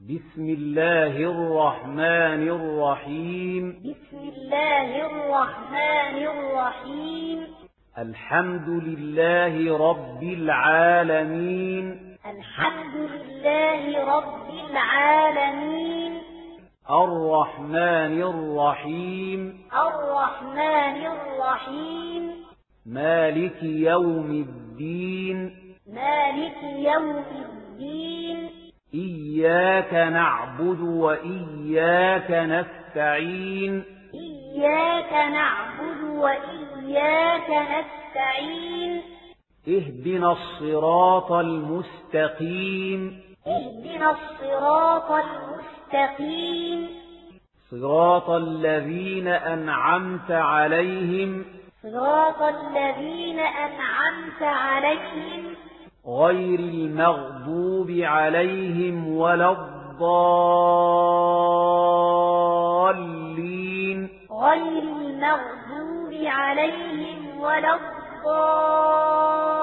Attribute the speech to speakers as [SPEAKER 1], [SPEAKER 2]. [SPEAKER 1] بسم الله الرحمن الرحيم
[SPEAKER 2] بسم الله الرحمن الرحيم
[SPEAKER 1] الحمد لله رب العالمين
[SPEAKER 2] الحمد لله رب العالمين
[SPEAKER 1] الرحمن الرحيم
[SPEAKER 2] الرحمن الرحيم
[SPEAKER 1] مالك يوم الدين
[SPEAKER 2] مالك يوم الدين
[SPEAKER 1] إياك نعبد وإياك نستعين
[SPEAKER 2] إياك نعبد وإياك نستعين
[SPEAKER 1] اهدنا الصراط المستقيم
[SPEAKER 2] اهدنا الصراط المستقيم
[SPEAKER 1] صراط الذين أنعمت عليهم
[SPEAKER 2] صراط الذين أنعمت عليهم
[SPEAKER 1] غير المغضوب عليهم ولا الضالين
[SPEAKER 2] غير المغضوب عليهم ولا الضالين